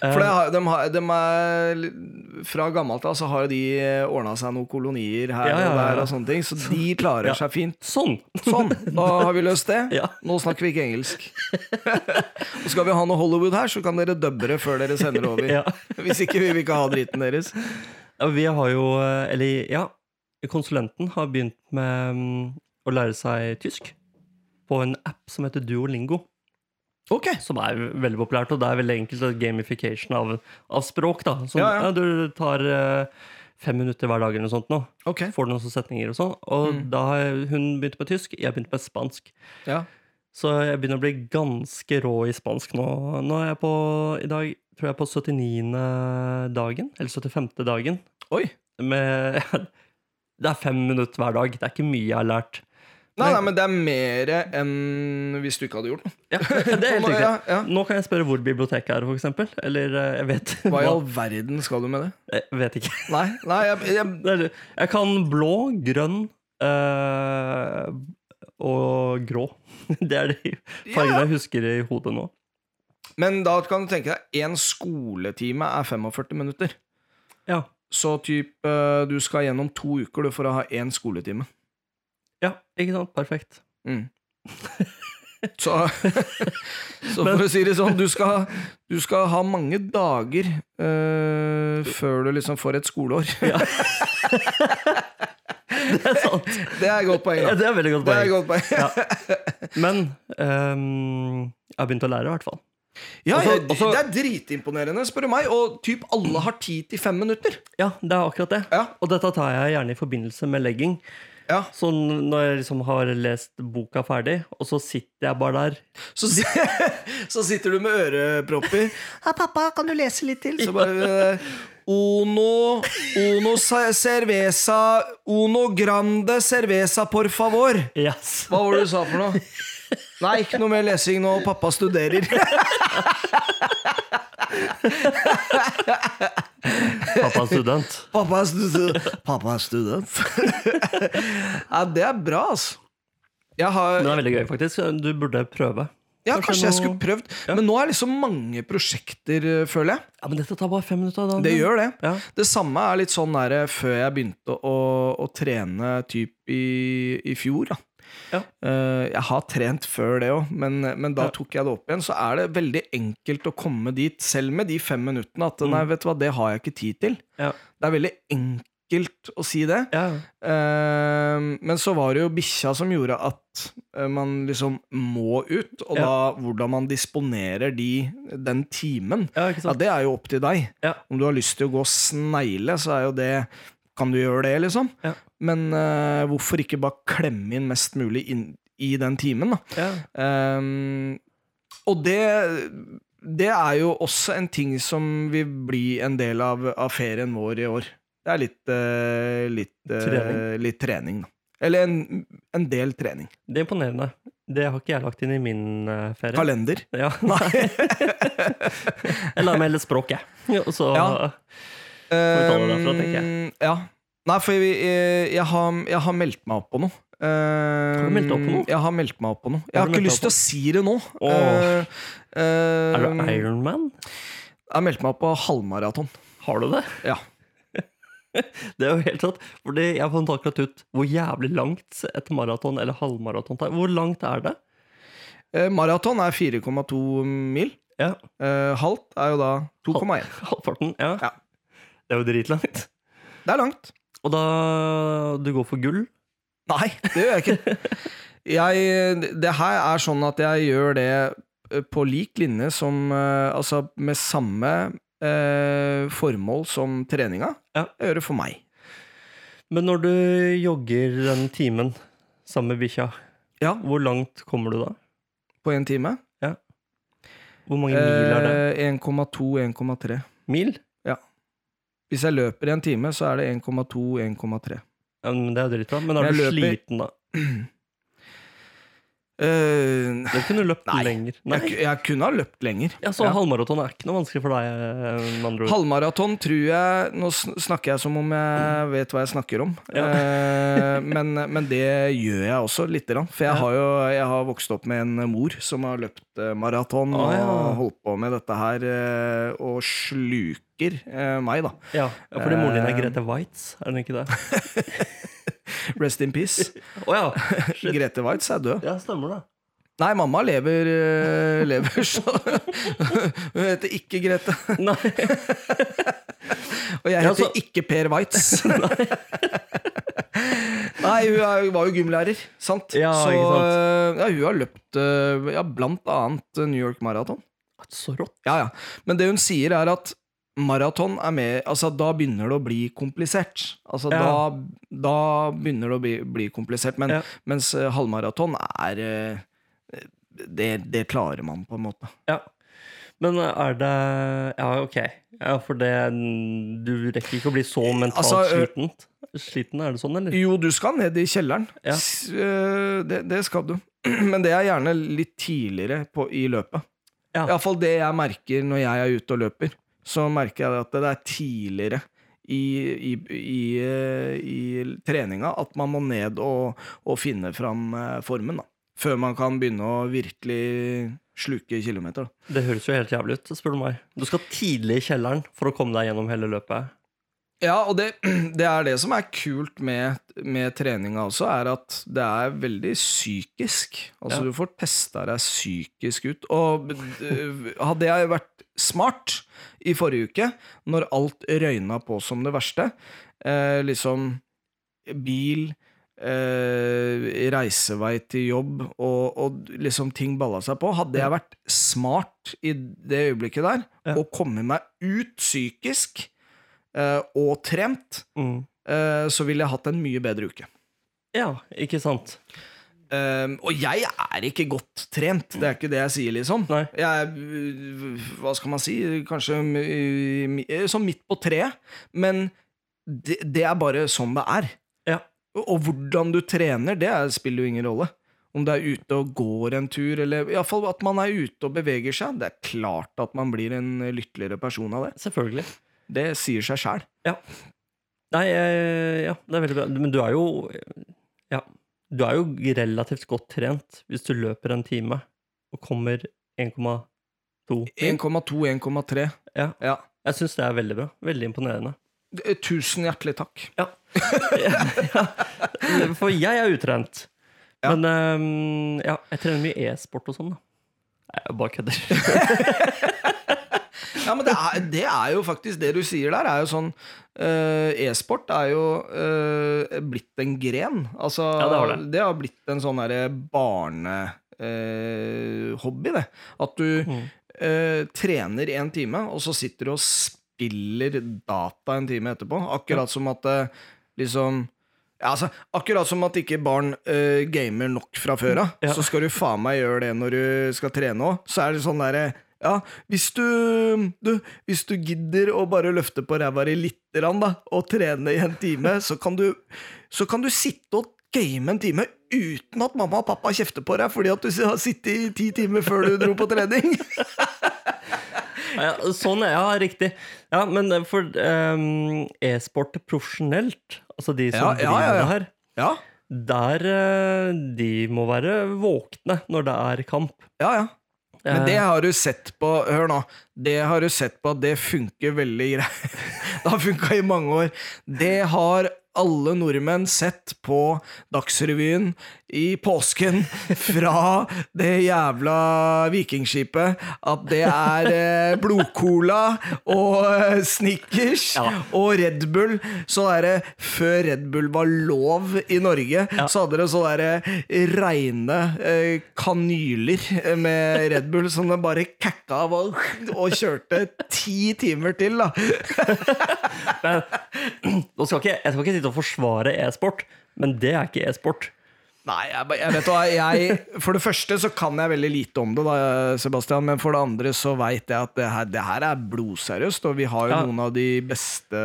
A: For det har, de har, de er, li- fra gammelt av så har jo de ordna seg noen kolonier her
B: Ja, ja,
A: og
B: ja.
A: der, og sånne ting, så de klarer
B: Ja.
A: seg fint.
B: Sånn!
A: Sånn, da har vi løst det.
B: Ja.
A: Nå snakker vi ikke engelsk. Og skal vi ha noe Hollywood her, så kan dere dubbe det før dere sender det over.
B: Ja.
A: Hvis ikke vi vil ikke ha driten deres.
B: Ja, Vi har jo eh, Eller, ja. Konsulenten har begynt med mm, å lære seg tysk på en app som heter Duolingo.
A: Ok.
B: Som er veldig populært, og det er veldig enkelt eh, gamification av, av språk. da Så
A: Ja, ja.
B: ja, Du tar eh, fem minutter hver dag eller noe sånt nå.
A: Ok.
B: Får du noen sånne setninger og sånn. Og
A: Mm.
B: da har hun begynt med tysk, jeg begynte med spansk.
A: Ja.
B: Så jeg begynner å bli ganske rå i spansk nå. Nå er jeg på, i dag tror jeg er på 79. dagen, eller 75. dagen.
A: Oi.
B: Med, det er fem minutter hver dag. Det er ikke mye jeg har lært.
A: Nei, nei, men det er mer enn hvis du ikke hadde gjort noe.
B: Ja, det er
A: Ja,
B: helt riktig.
A: ja.
B: Nå kan jeg spørre hvor biblioteket er, for eksempel. Eller eh, jeg vet
A: Hva i all verden skal du med det?
B: Jeg vet ikke.
A: Nei, nei jeg, jeg,
B: Det er- Jeg kan blå, grønn eh, og grå. Det er de fargene jeg husker i hodet nå.
A: Men da kan du tenke deg én skoletime er 45 minutter.
B: Ja.
A: Så typ, eh, du skal gjennom to uker du, for å ha én skoletime.
B: ja, ikke sant? Perfekt.
A: Mm. Så, så for å si det sånn, du skal, du skal ha mange dager eh, før du liksom får et skoleår.
B: Det er sant.
A: Det er et godt poeng.
B: Ja,
A: Da.
B: det er veldig godt
A: Det er et
B: poeng.
A: godt poeng.
B: Men ehm, jeg har begynt å lære, i hvert fall.
A: Ja, jeg,
B: Og så-
A: det er dritimponerende, spør du meg. Og typ alle har ti til fem minutter.
B: Ja, det er akkurat det.
A: Ja.
B: Og dette tar jeg gjerne i forbindelse med legging.
A: Ja.
B: Så når jeg liksom har lest boka ferdig, og så sitter jeg bare der
A: Så, si- så sitter du med ørepropper. Ja, pappa, kan du lese litt til? Så bare eh, Uno, uno sa- cerveza, uno grande cerveza, por favor.
B: Yes.
A: Hva var det du sa for noe? Nei, ikke noe mer lesing nå. Pappa studerer.
B: Pappa er student.
A: Pappa er student. Pappa er student. Ja, det er bra, altså. Jeg har,
B: Men det er veldig gøy, faktisk. Du burde prøve.
A: ja,
B: kanskje
A: kanskje jeg
B: noe-
A: skulle prøvd. Men nå er liksom mange prosjekter, eh, føler jeg.
B: Ja, Men dette tar bare fem minutter. Da.
A: Det gjør det.
B: Ja.
A: Det samme er litt sånn der, før jeg begynte å, å trene typ i, i fjor. Da.
B: Ja.
A: Eh, jeg har trent før det òg, men, men da
B: Ja.
A: tok jeg det opp igjen. Så er det veldig enkelt å komme dit, selv med de fem minuttene. At nei, vet du hva, det har jeg ikke tid til.
B: Mm. Ja.
A: Det er veldig enkelt å si det.
B: Ja.
A: Eh, men så var det jo bikkja som gjorde at eh, man liksom må ut, og
B: Ja.
A: da hvordan man disponerer de, den timen.
B: ja, ikke
A: Ja,
B: sant?
A: det er jo opp til deg.
B: Ja.
A: Om du har lyst til å gå og snegle, så er jo det Kan du gjøre det, liksom?
B: Ja.
A: Men eh, hvorfor ikke bare klemme inn mest mulig inn i den timen, da?
B: Ja.
A: Ehm, og det det er jo også en ting som vil bli en del av, av ferien vår i år. Det er litt eh, litt, eh,
B: Trening.
A: litt trening, da. Eller en, en del trening.
B: Det er imponerende. Det har ikke jeg lagt inn i min eh, ferie.
A: Kalender.
B: Ja, nei. jeg lar meg heller språk, jeg. Ja, og så,
A: Ja.
B: vi ta det derfra, tenker jeg.
A: Ehm, Ja. Nei, for vi, eh, jeg, har, jeg har meldt meg opp på noe. Ehm,
B: Har du meldt deg opp på noe?
A: Jeg har meldt meg opp på noe. Jeg
B: Har
A: har
B: du
A: ikke
B: meldt deg
A: lyst til
B: opp
A: å si det nå.
B: Åh.
A: Ehm,
B: Er
A: ehm,
B: du Ironman?
A: jeg har meldt meg opp på halvmaraton.
B: Har du det?
A: Ja.
B: Det er jo helt sant. Fordi jeg fant akkurat ut hvor jævlig langt et maraton eller halvmaraton tar. Hvor langt er det?
A: Eh, Maraton er 4,2 mil.
B: Ja,
A: Eh, halvt er jo da 2,1.
B: halvparten. Ja.
A: Ja.
B: Det er jo dritlangt.
A: Det er langt.
B: Og da Du går for gull?
A: Nei, det gjør jeg ikke. Jeg, det her er sånn at jeg gjør det eh, på lik linje som eh, Altså med samme eh, formål som treninga.
B: Ja.
A: Jeg gjør det for meg.
B: Men når du jogger den timen sammen med bikkja,
A: Ja.
B: hvor langt kommer du da?
A: På én time.
B: Hvor mange mil er det?
A: Eh, 1,2-1,3.
B: Mil?
A: Hvis jeg løper i en time, så er det 1,2-1,3.
B: Ja, men det er jo dritbra. Men er
A: Jeg
B: du
A: løper-
B: sliten da?
A: Eh,
B: Du kunne løpt
A: Nei.
B: lenger. Nei.
A: jeg, jeg kunne ha løpt lenger.
B: Ja, så
A: Ja.
B: halvmaraton er ikke noe vanskelig for deg, eh, med andre ord.
A: Halvmaraton tror jeg Nå sn- snakker jeg som om jeg vet hva jeg snakker om.
B: Ja.
A: Eh, men, men det gjør jeg også, lite grann. For jeg har jo jeg har vokst opp med en mor som har løpt eh, maraton
B: Ah, ja.
A: og holdt på med dette her, eh, og sluker eh, meg, da.
B: Ja, ja, fordi moren din er
A: Eh.
B: Grete Waitz, er hun ikke det?
A: Rest in peace.
B: Å ja! Shit.
A: Grete Waitz er død.
B: Ja, stemmer det.
A: Nei, mamma lever, eh, lever så Hun heter ikke Grete.
B: Nei.
A: Og jeg
B: Ja, altså-
A: heter
B: så-
A: ikke Per Waitz. Nei, hun er, hun var jo gymlærer, sant?
B: Ja,
A: så
B: ikke sant.
A: øh, Ja, hun har løpt øh, ja, blant annet øh, New York Marathon.
B: Så rått.
A: Ja, ja. Men det hun sier, er at maraton er med Altså, da begynner det å bli komplisert. Altså,
B: Ja.
A: da, da begynner det å bli, bli komplisert. Men,
B: Ja.
A: Mens øh, halvmaraton er øh, det, det klarer man, på en måte.
B: Ja. Men er det Ja, ok. Ja, for det Du rekker ikke å bli så mentalt
A: Altså, ø-
B: slitent? Sliten, er det sånn, eller?
A: Jo, du skal ned i kjelleren.
B: Ja.
A: S- øh, Det, det skal du. Men det er gjerne litt tidligere på, i løpet.
B: Ja.
A: Iallfall det jeg merker når jeg er ute og løper. Så merker jeg at det er tidligere i, i, i, øh, i treninga at man må ned og, og finne fram eh, formen, da. Før man kan begynne å virkelig sluke kilometer. Da.
B: Det høres jo helt jævlig ut, spør du meg. Du skal tidlig i kjelleren for å komme deg gjennom hele løpet.
A: Ja, og det, det er det som er kult med, med treninga også, er at det er veldig psykisk. Altså,
B: Ja.
A: du får testa deg psykisk ut. Og øh, hadde jeg vært smart i forrige uke, når alt røyna på som det verste, eh, liksom bil Eh, reisevei til jobb, og, og liksom ting balla seg på. Hadde jeg vært smart i det øyeblikket der,
B: Ja.
A: og kommet meg ut psykisk eh, og trent, eh, så ville jeg hatt en mye bedre uke.
B: Mm. Ja, ikke sant?
A: Eh, og jeg er ikke godt trent, det er ikke det jeg sier, liksom.
B: Nei.
A: Jeg er, øh, hva skal man si, kanskje øh, mi- øh, sånn midt på treet, men det, det er bare sånn det er.
B: Ja.
A: Og, og hvordan du trener, det er, spiller jo ingen rolle. Om du er ute og går en tur, eller iallfall at man er ute og beveger seg. Det er klart at man blir en lykkeligere person av det.
B: Selvfølgelig.
A: Det sier seg sjæl.
B: Nei, eh, ja, det er veldig bra. Men du er jo Ja. Du er jo relativt godt trent hvis du løper en time og kommer 1,2 mil.
A: 1,2-1,3.
B: Ja.
A: ja.
B: Jeg syns det er veldig bra. Veldig imponerende.
A: Eh, Tusen hjertelig takk.
B: ja. For jeg er utrent.
A: Ja.
B: Men ehm, ja, jeg trener mye e-sport og sånn, da. Nei, Jeg bare kødder.
A: Ja, men det er, det er jo faktisk det du sier der. er jo sånn eh, E-sport er jo eh, blitt en gren. Altså,
B: Ja, det har det.
A: har blitt en sånn derre barnehobby, det. At du
B: Mm.
A: eh, trener en time, og så sitter du og spiller data en time etterpå. Akkurat som at eh, liksom ja, altså, akkurat som at ikke barn eh, gamer nok fra før av,
B: Ja.
A: så skal du faen meg gjøre det når du skal trene òg. Så er det sånn derre ja, hvis du, du, hvis du gidder å bare løfte på ræva di lite grann, da, og trene i en time, så kan, du, så kan du sitte og game en time uten at mamma og pappa kjefter på deg fordi at du har sittet i ti timer før du dro på trening.
B: Ja, ja, sånn, ja, riktig. Ja, men eh, for ehm, e-sport profesjonelt, altså de som
A: Ja, ja,
B: driver
A: ja, ja.
B: det her,
A: Ja,
B: der eh, de må være våkne når det er kamp.
A: ja, ja. Men det
B: Eh,
A: har du sett på Hør nå. Det har du sett på at det funker veldig greit. Det har funka i mange år. Det har alle nordmenn sett på Dagsrevyen i påsken fra det jævla vikingskipet at det er eh, blodcola og eh, Snickers og Red Bull. Så derre før Red Bull var lov i Norge, så hadde det så derre reine eh, kanyler eh, med Red Bull som det bare kakka av og, og kjørte ti timer til, da.
B: Nå skal ikke, jeg skal ikke sitte og forsvare e-sport, men det er ikke e-sport.
A: Nei, jeg, ba- jeg vet hva, jeg, For det første så kan jeg veldig lite om det, da, Sebastian. Men for det andre så veit jeg at det her, det her er blodseriøst. Og vi har jo
B: Ja.
A: noen av de beste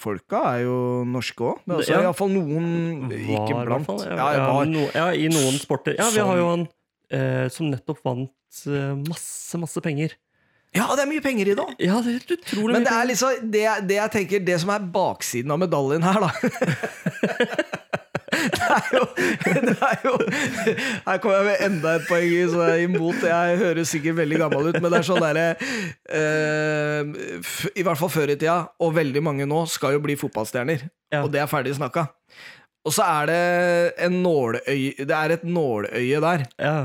A: folka, er jo norske òg. Altså,
B: Ja.
A: Iallfall noen
B: Var,
A: ikke
B: i hvert
A: blant.
B: fall.
A: Ja, jeg var.
B: no, ja, I noen sporter. Ja, vi
A: Som-
B: har jo han eh, som nettopp vant eh, masse, masse penger.
A: ja, det er mye penger i det òg.
B: Ja, det er helt utrolig
A: Men
B: mye
A: det er
B: penger.
A: liksom det, det jeg tenker Det som er baksiden av medaljen her, da. Det er, jo, det er jo Her kommer jeg med enda et poeng i, så jeg er imot. Jeg høres sikkert veldig gammel ut, men det er sånn derre eh, f- I hvert fall før i tida, og veldig mange nå, skal jo bli fotballstjerner.
B: Ja.
A: Og det er ferdig snakka. Og så er det, en nåløye, det er et nåløye der.
B: Ja.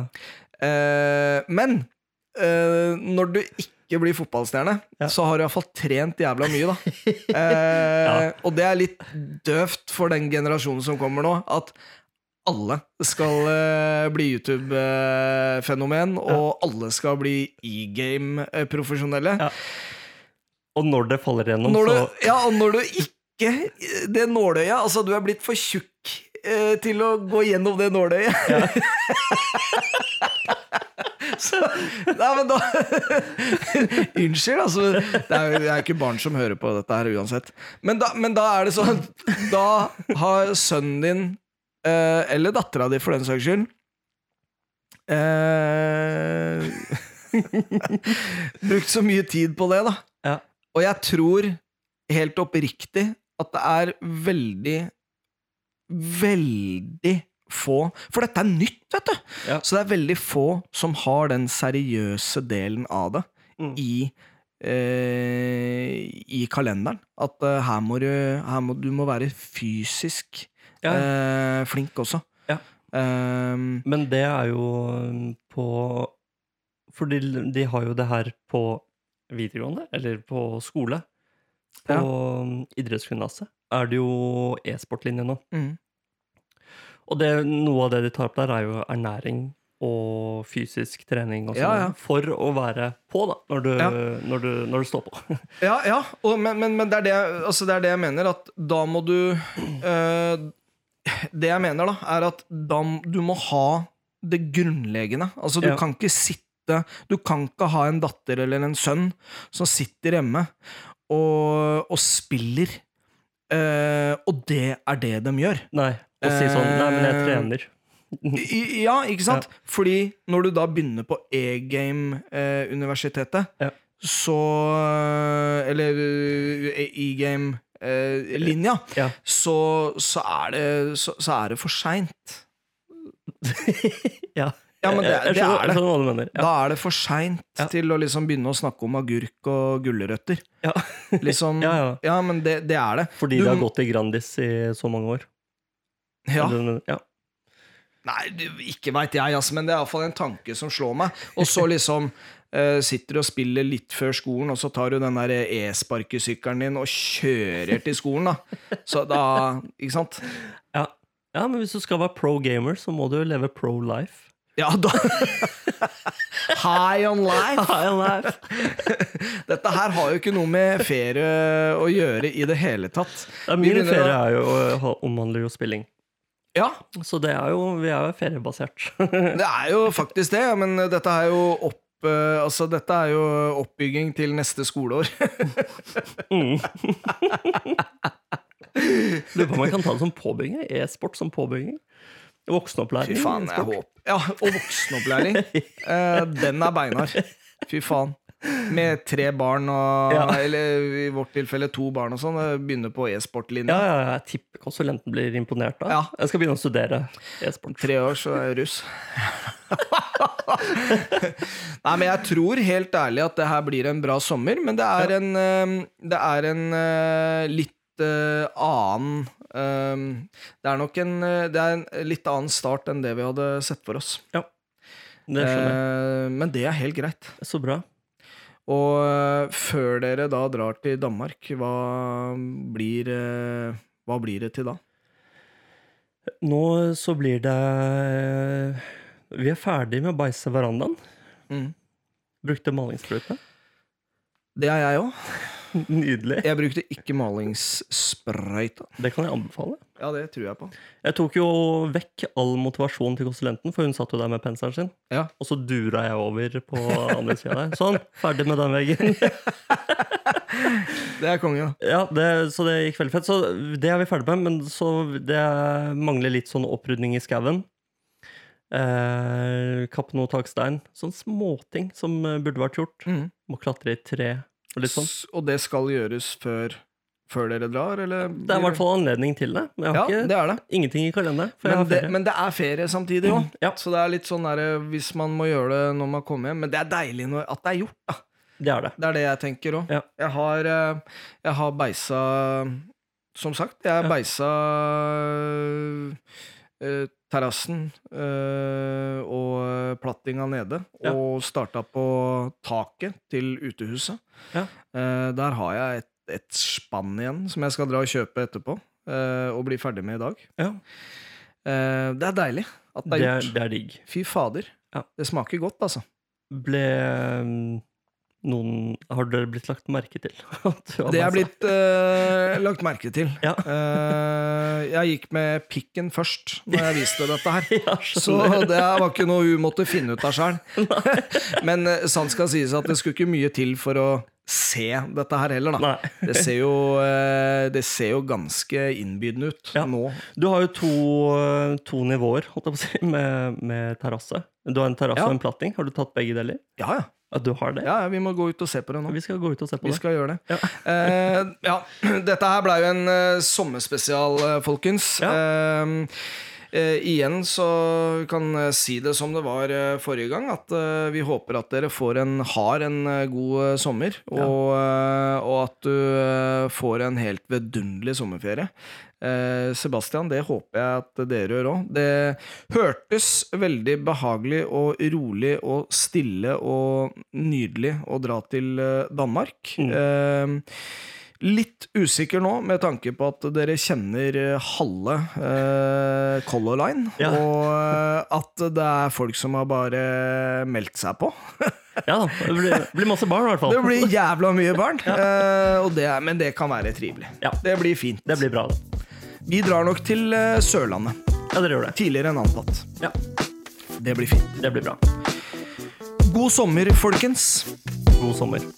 A: Eh, men eh, når du ikke blir fotballstjerne,
B: Ja.
A: så har du iallfall trent jævla mye, da. Eh, Og det er litt døvt for den generasjonen som kommer nå, at alle skal eh, bli YouTube-fenomen, og alle skal bli eh, e-game-profesjonelle.
B: Ja. Og når det faller gjennom,
A: Når du,
B: så
A: ja, og når du ikke Det nåløyet Altså, du er blitt for tjukk eh, til å gå gjennom det nåløyet. Så, nei, men da Unnskyld, altså. Det er, jo- det er ikke barn som hører på dette her uansett. Men da, men da er det sånn Da har sønnen din, eh, eller dattera di for den saks skyld eh, Brukt så mye tid på det, da.
B: Ja.
A: Og jeg tror helt oppriktig at det er veldig, veldig få For dette er nytt, vet du!
B: Ja.
A: Så det er veldig få som har den seriøse delen av det
B: Mm.
A: i, eh, i kalenderen. At eh, her må du her må, Du må være fysisk
B: Ja.
A: eh, flink også.
B: Ja.
A: Ehm,
B: Men det er jo um, på For de, de har jo det her på videregående, eller på skole. På
A: Ja.
B: um, idrettsgymnaset er det jo e-sportlinje nå.
A: mm.
B: Og det, noe av det de tar opp der, er jo ernæring og fysisk trening og sånn.
A: Ja, ja.
B: For å være på, da, når du,
A: Ja.
B: når du, når du står på.
A: Ja, ja. Og, men, men, men det, er det, jeg- altså det er det jeg mener, at da må du eh, Det jeg mener, da, er at da, m- du må ha det grunnleggende. Altså, du
B: Ja.
A: kan ikke sitte Du kan ikke ha en datter eller en sønn som sitter hjemme og, og spiller, eh, og det er det de gjør.
B: Nei, og si sånn Nei, men
A: Eh,
B: jeg trener.
A: I- Ja, ikke sant? Fordi når du da begynner på e-game-universitetet,
B: Ja.
A: så Eller eh, e-game-linja,
B: Ja.
A: så, så er det, så, så er det for seint.
B: ja.
A: Ja, men det,
B: Jeg- jeg
A: det er
B: skjønner- Jeg
A: det.
B: skjønner hva du mener. Ja.
A: Da er det for seint
B: Ja.
A: til å liksom begynne å snakke om agurk og gulrøtter.
B: Ja.
A: Liksom,
B: ja,
A: ja,
B: ja.
A: men det, det er det.
B: Fordi
A: Du-
B: det har gått i Grandis i så mange år.
A: Ja.
B: Er det det du mener? ja.
A: Nei, du- ikke veit jeg, altså, men det er iallfall en tanke som slår meg. Og så liksom eh, sitter du og spiller litt før skolen, og så tar du den der e-sparkesykkelen din og kjører til skolen, da. Så da Ikke sant?
B: Ja. ja, men hvis du skal være pro gamer, så må du jo leve pro life.
A: Ja, da High on life!
B: High life.
A: Dette her har jo ikke noe med ferie å gjøre i det hele tatt.
B: Ja,
A: Vi
B: min
A: begynner
B: ferie
A: å-
B: er jo, eh, ha- omhandler jo spilling.
A: Ja,
B: Så det er jo, vi er jo feriebasert.
A: Det er jo faktisk det, men dette er jo opp eh, Altså, dette er jo oppbygging til neste skoleår.
B: Lurer på om jeg kan ta det som påbygging? jeg. E-sport som påbygging? Voksenopplæring?
A: Fy faen, jeg
B: e-sport.
A: håper Ja, og voksenopplæring. Eh, den er beinhard. Fy faen. Med tre barn og
B: Ja.
A: Eller i vårt tilfelle to barn og sånn. eh, Begynner på e-sportlinja.
B: Ja, ja, ja, jeg tipper konsulenten blir imponert da.
A: Ja.
B: Jeg skal begynne å studere e-sport.
A: Tre år, så er jeg russ. Nei, men jeg tror helt ærlig at det her blir en bra sommer, men det er en, eh, det er en eh, litt eh, annen eh, Det er nok en, eh, det er en litt annen start enn det vi hadde sett for oss.
B: Det skjønner jeg.
A: Eh, men det er helt greit.
B: Så bra.
A: Og eh, før dere da drar til Danmark, hva blir, eh, hva blir det til da?
B: Nå så blir det eh, Vi er ferdig med å beise verandaen. Mm. Brukte malingssprøyte.
A: Det er jeg òg.
B: Nydelig.
A: Jeg brukte ikke malingssprøyta.
B: Det kan jeg anbefale.
A: Ja, det tror jeg på.
B: Jeg tok jo vekk all motivasjon til konsulenten, for hun satt jo der med penselen sin.
A: Ja.
B: Og så dura jeg over på andre sida der. Sånn, ferdig med den veggen.
A: Det er konge, da.
B: Ja, det, Så det gikk veldig fett. Så det er vi ferdig med, men så det mangler litt sånn opprydning i skauen. Eh, Kappe noe takstein. Sånn småting som eh, burde vært gjort. Må klatre i et tre og litt sånn.
A: Mm. S- Og det skal gjøres før, før dere drar, eller?
B: Det er i hvert fall anledning til det. Men jeg
A: Ja,
B: har
A: det
B: ikke
A: er det.
B: ingenting i kalenderen. For jeg
A: Men
B: har
A: det,
B: ferie. Mm.
A: men det er ferie samtidig òg.
B: Ja.
A: Så det er litt sånn der, hvis man må gjøre det når man kommer hjem. Men det er deilig når, at det er gjort, da.
B: det er det.
A: Det er det jeg tenker òg.
B: Ja.
A: Jeg, har, eh, jeg har beisa Som sagt, jeg
B: Ja.
A: beisa eh, terrassen eh, og plattinga nede,
B: Ja.
A: og starta på taket til utehuset.
B: Ja.
A: Eh, der har jeg et, et spann igjen som jeg skal dra og kjøpe etterpå, eh, og bli ferdig med i dag.
B: Ja.
A: Eh, det er deilig at det
B: Det
A: er
B: er,
A: gjort.
B: det er digg.
A: Fy fader.
B: Ja.
A: Det smaker godt, altså.
B: Ble mm, noen Har dere blitt lagt merke til? at du
A: Det
B: har beisa?
A: er blitt eh, lagt merke til.
B: Ja.
A: Eh, jeg gikk med pikken først når jeg viste dette her.
B: Ja,
A: Så
B: skjønner.
A: det var ikke noe hun måtte finne ut av sjøl. Men eh, sant skal sies at det skulle ikke mye til for å se dette her heller, da.
B: Nei.
A: Det ser jo, eh, det ser jo ganske innbydende ut
B: Ja.
A: nå.
B: Du har jo to, eh, to nivåer holdt jeg på å si, med, med terrasse. Du har en terrasse
A: Ja.
B: og en platting. Har du tatt begge deler?
A: Ja, ja.
B: Ja, du har det?
A: ja, ja vi må gå ut og se på det nå.
B: Vi skal gå ut og se på
A: Vi
B: det.
A: skal gjøre det.
B: Ja.
A: Eh, ja. Dette her blei jo en eh, sommerspesial, eh, folkens.
B: Ja.
A: Eh, eh, igjen så kan jeg si det som det var eh, forrige gang, at eh, vi håper at dere får en, har en eh, god eh, sommer. Og, eh, og at du eh, får en helt vidunderlig sommerferie. Eh, Sebastian, det håper jeg at dere gjør òg. Det hørtes veldig behagelig og rolig og stille og nydelig å dra til eh, Danmark.
B: Mm.
A: Eh, litt usikker nå, med tanke på at dere kjenner eh, halve eh, Color Line,
B: Ja.
A: og eh, at det er folk som har bare meldt seg på.
B: Ja da. Det blir, det blir masse barn, i hvert fall.
A: Det blir jævla mye barn, eh, og det, er- men det kan være trivelig.
B: Ja.
A: Det blir fint.
B: Det blir bra. det.
A: Vi drar nok til eh, Sørlandet.
B: Ja, dere gjør det.
A: Tidligere enn antatt.
B: Ja,
A: Det blir fint.
B: Det blir bra.
A: God sommer, folkens.
B: God sommer.